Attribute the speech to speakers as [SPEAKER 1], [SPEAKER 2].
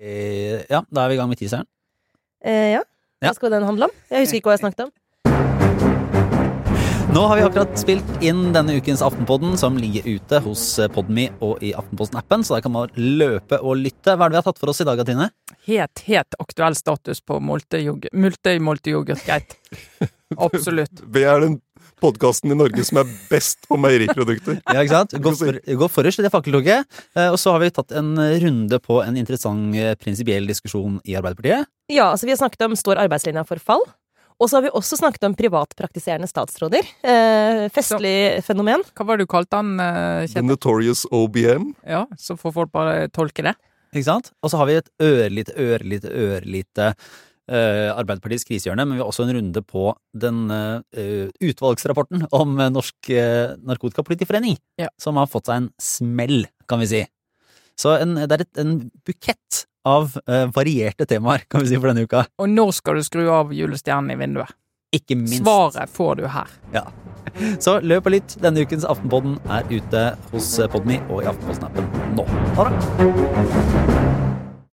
[SPEAKER 1] Eh, ja, da er vi i gang med teaseren.
[SPEAKER 2] Eh, ja.
[SPEAKER 1] Ja.
[SPEAKER 2] Hva skal den handle om? Jeg husker ikke hva jeg snakket om.
[SPEAKER 1] Nå har vi akkurat spilt inn denne ukens Aftenpodden, som ligger ute hos eh, Podme og i Aftenposten-appen, så der kan man løpe og lytte. Hva er det vi har tatt for oss i dag, Katrine?
[SPEAKER 3] Helt, helt aktuell status på multeyoghurt. Multi-multiyoghurt, greit. Absolutt.
[SPEAKER 4] Vi er den podkasten i Norge som er best på meieriprodukter.
[SPEAKER 1] Ja, ikke sant? Gå, for, gå forrest i det fakkeltoget. Eh, Og så har vi tatt en runde på en interessant eh, prinsipiell diskusjon i Arbeiderpartiet.
[SPEAKER 2] Ja, altså Vi har snakket om står arbeidslinja for fall. Og så har vi også snakket om privatpraktiserende statsråder. Eh, festlig fenomen.
[SPEAKER 3] Hva var det du kalte han, eh,
[SPEAKER 4] The
[SPEAKER 3] Kjetil?
[SPEAKER 4] Notorious OBM.
[SPEAKER 3] Ja, så får folk bare tolke det.
[SPEAKER 1] Ikke sant? Og så har vi et ørlite, ørlite, ørlite eh, Arbeiderpartiets krisehjørne, men vi har også en runde på den eh, utvalgsrapporten om eh, Norsk eh, Narkotikapolitiforening,
[SPEAKER 3] Ja.
[SPEAKER 1] som har fått seg en smell, kan vi si. Så en, det er et, en bukett av eh, varierte temaer, kan vi si, for denne uka.
[SPEAKER 3] Og når skal du skru av julestjernen i vinduet?
[SPEAKER 1] Ikke minst.
[SPEAKER 3] Svaret får du her.
[SPEAKER 1] Så løp og lytt. Denne ukens eh, Aftenpodden er ute hos Podmy og i Aftenposten-appen nå. Ha det!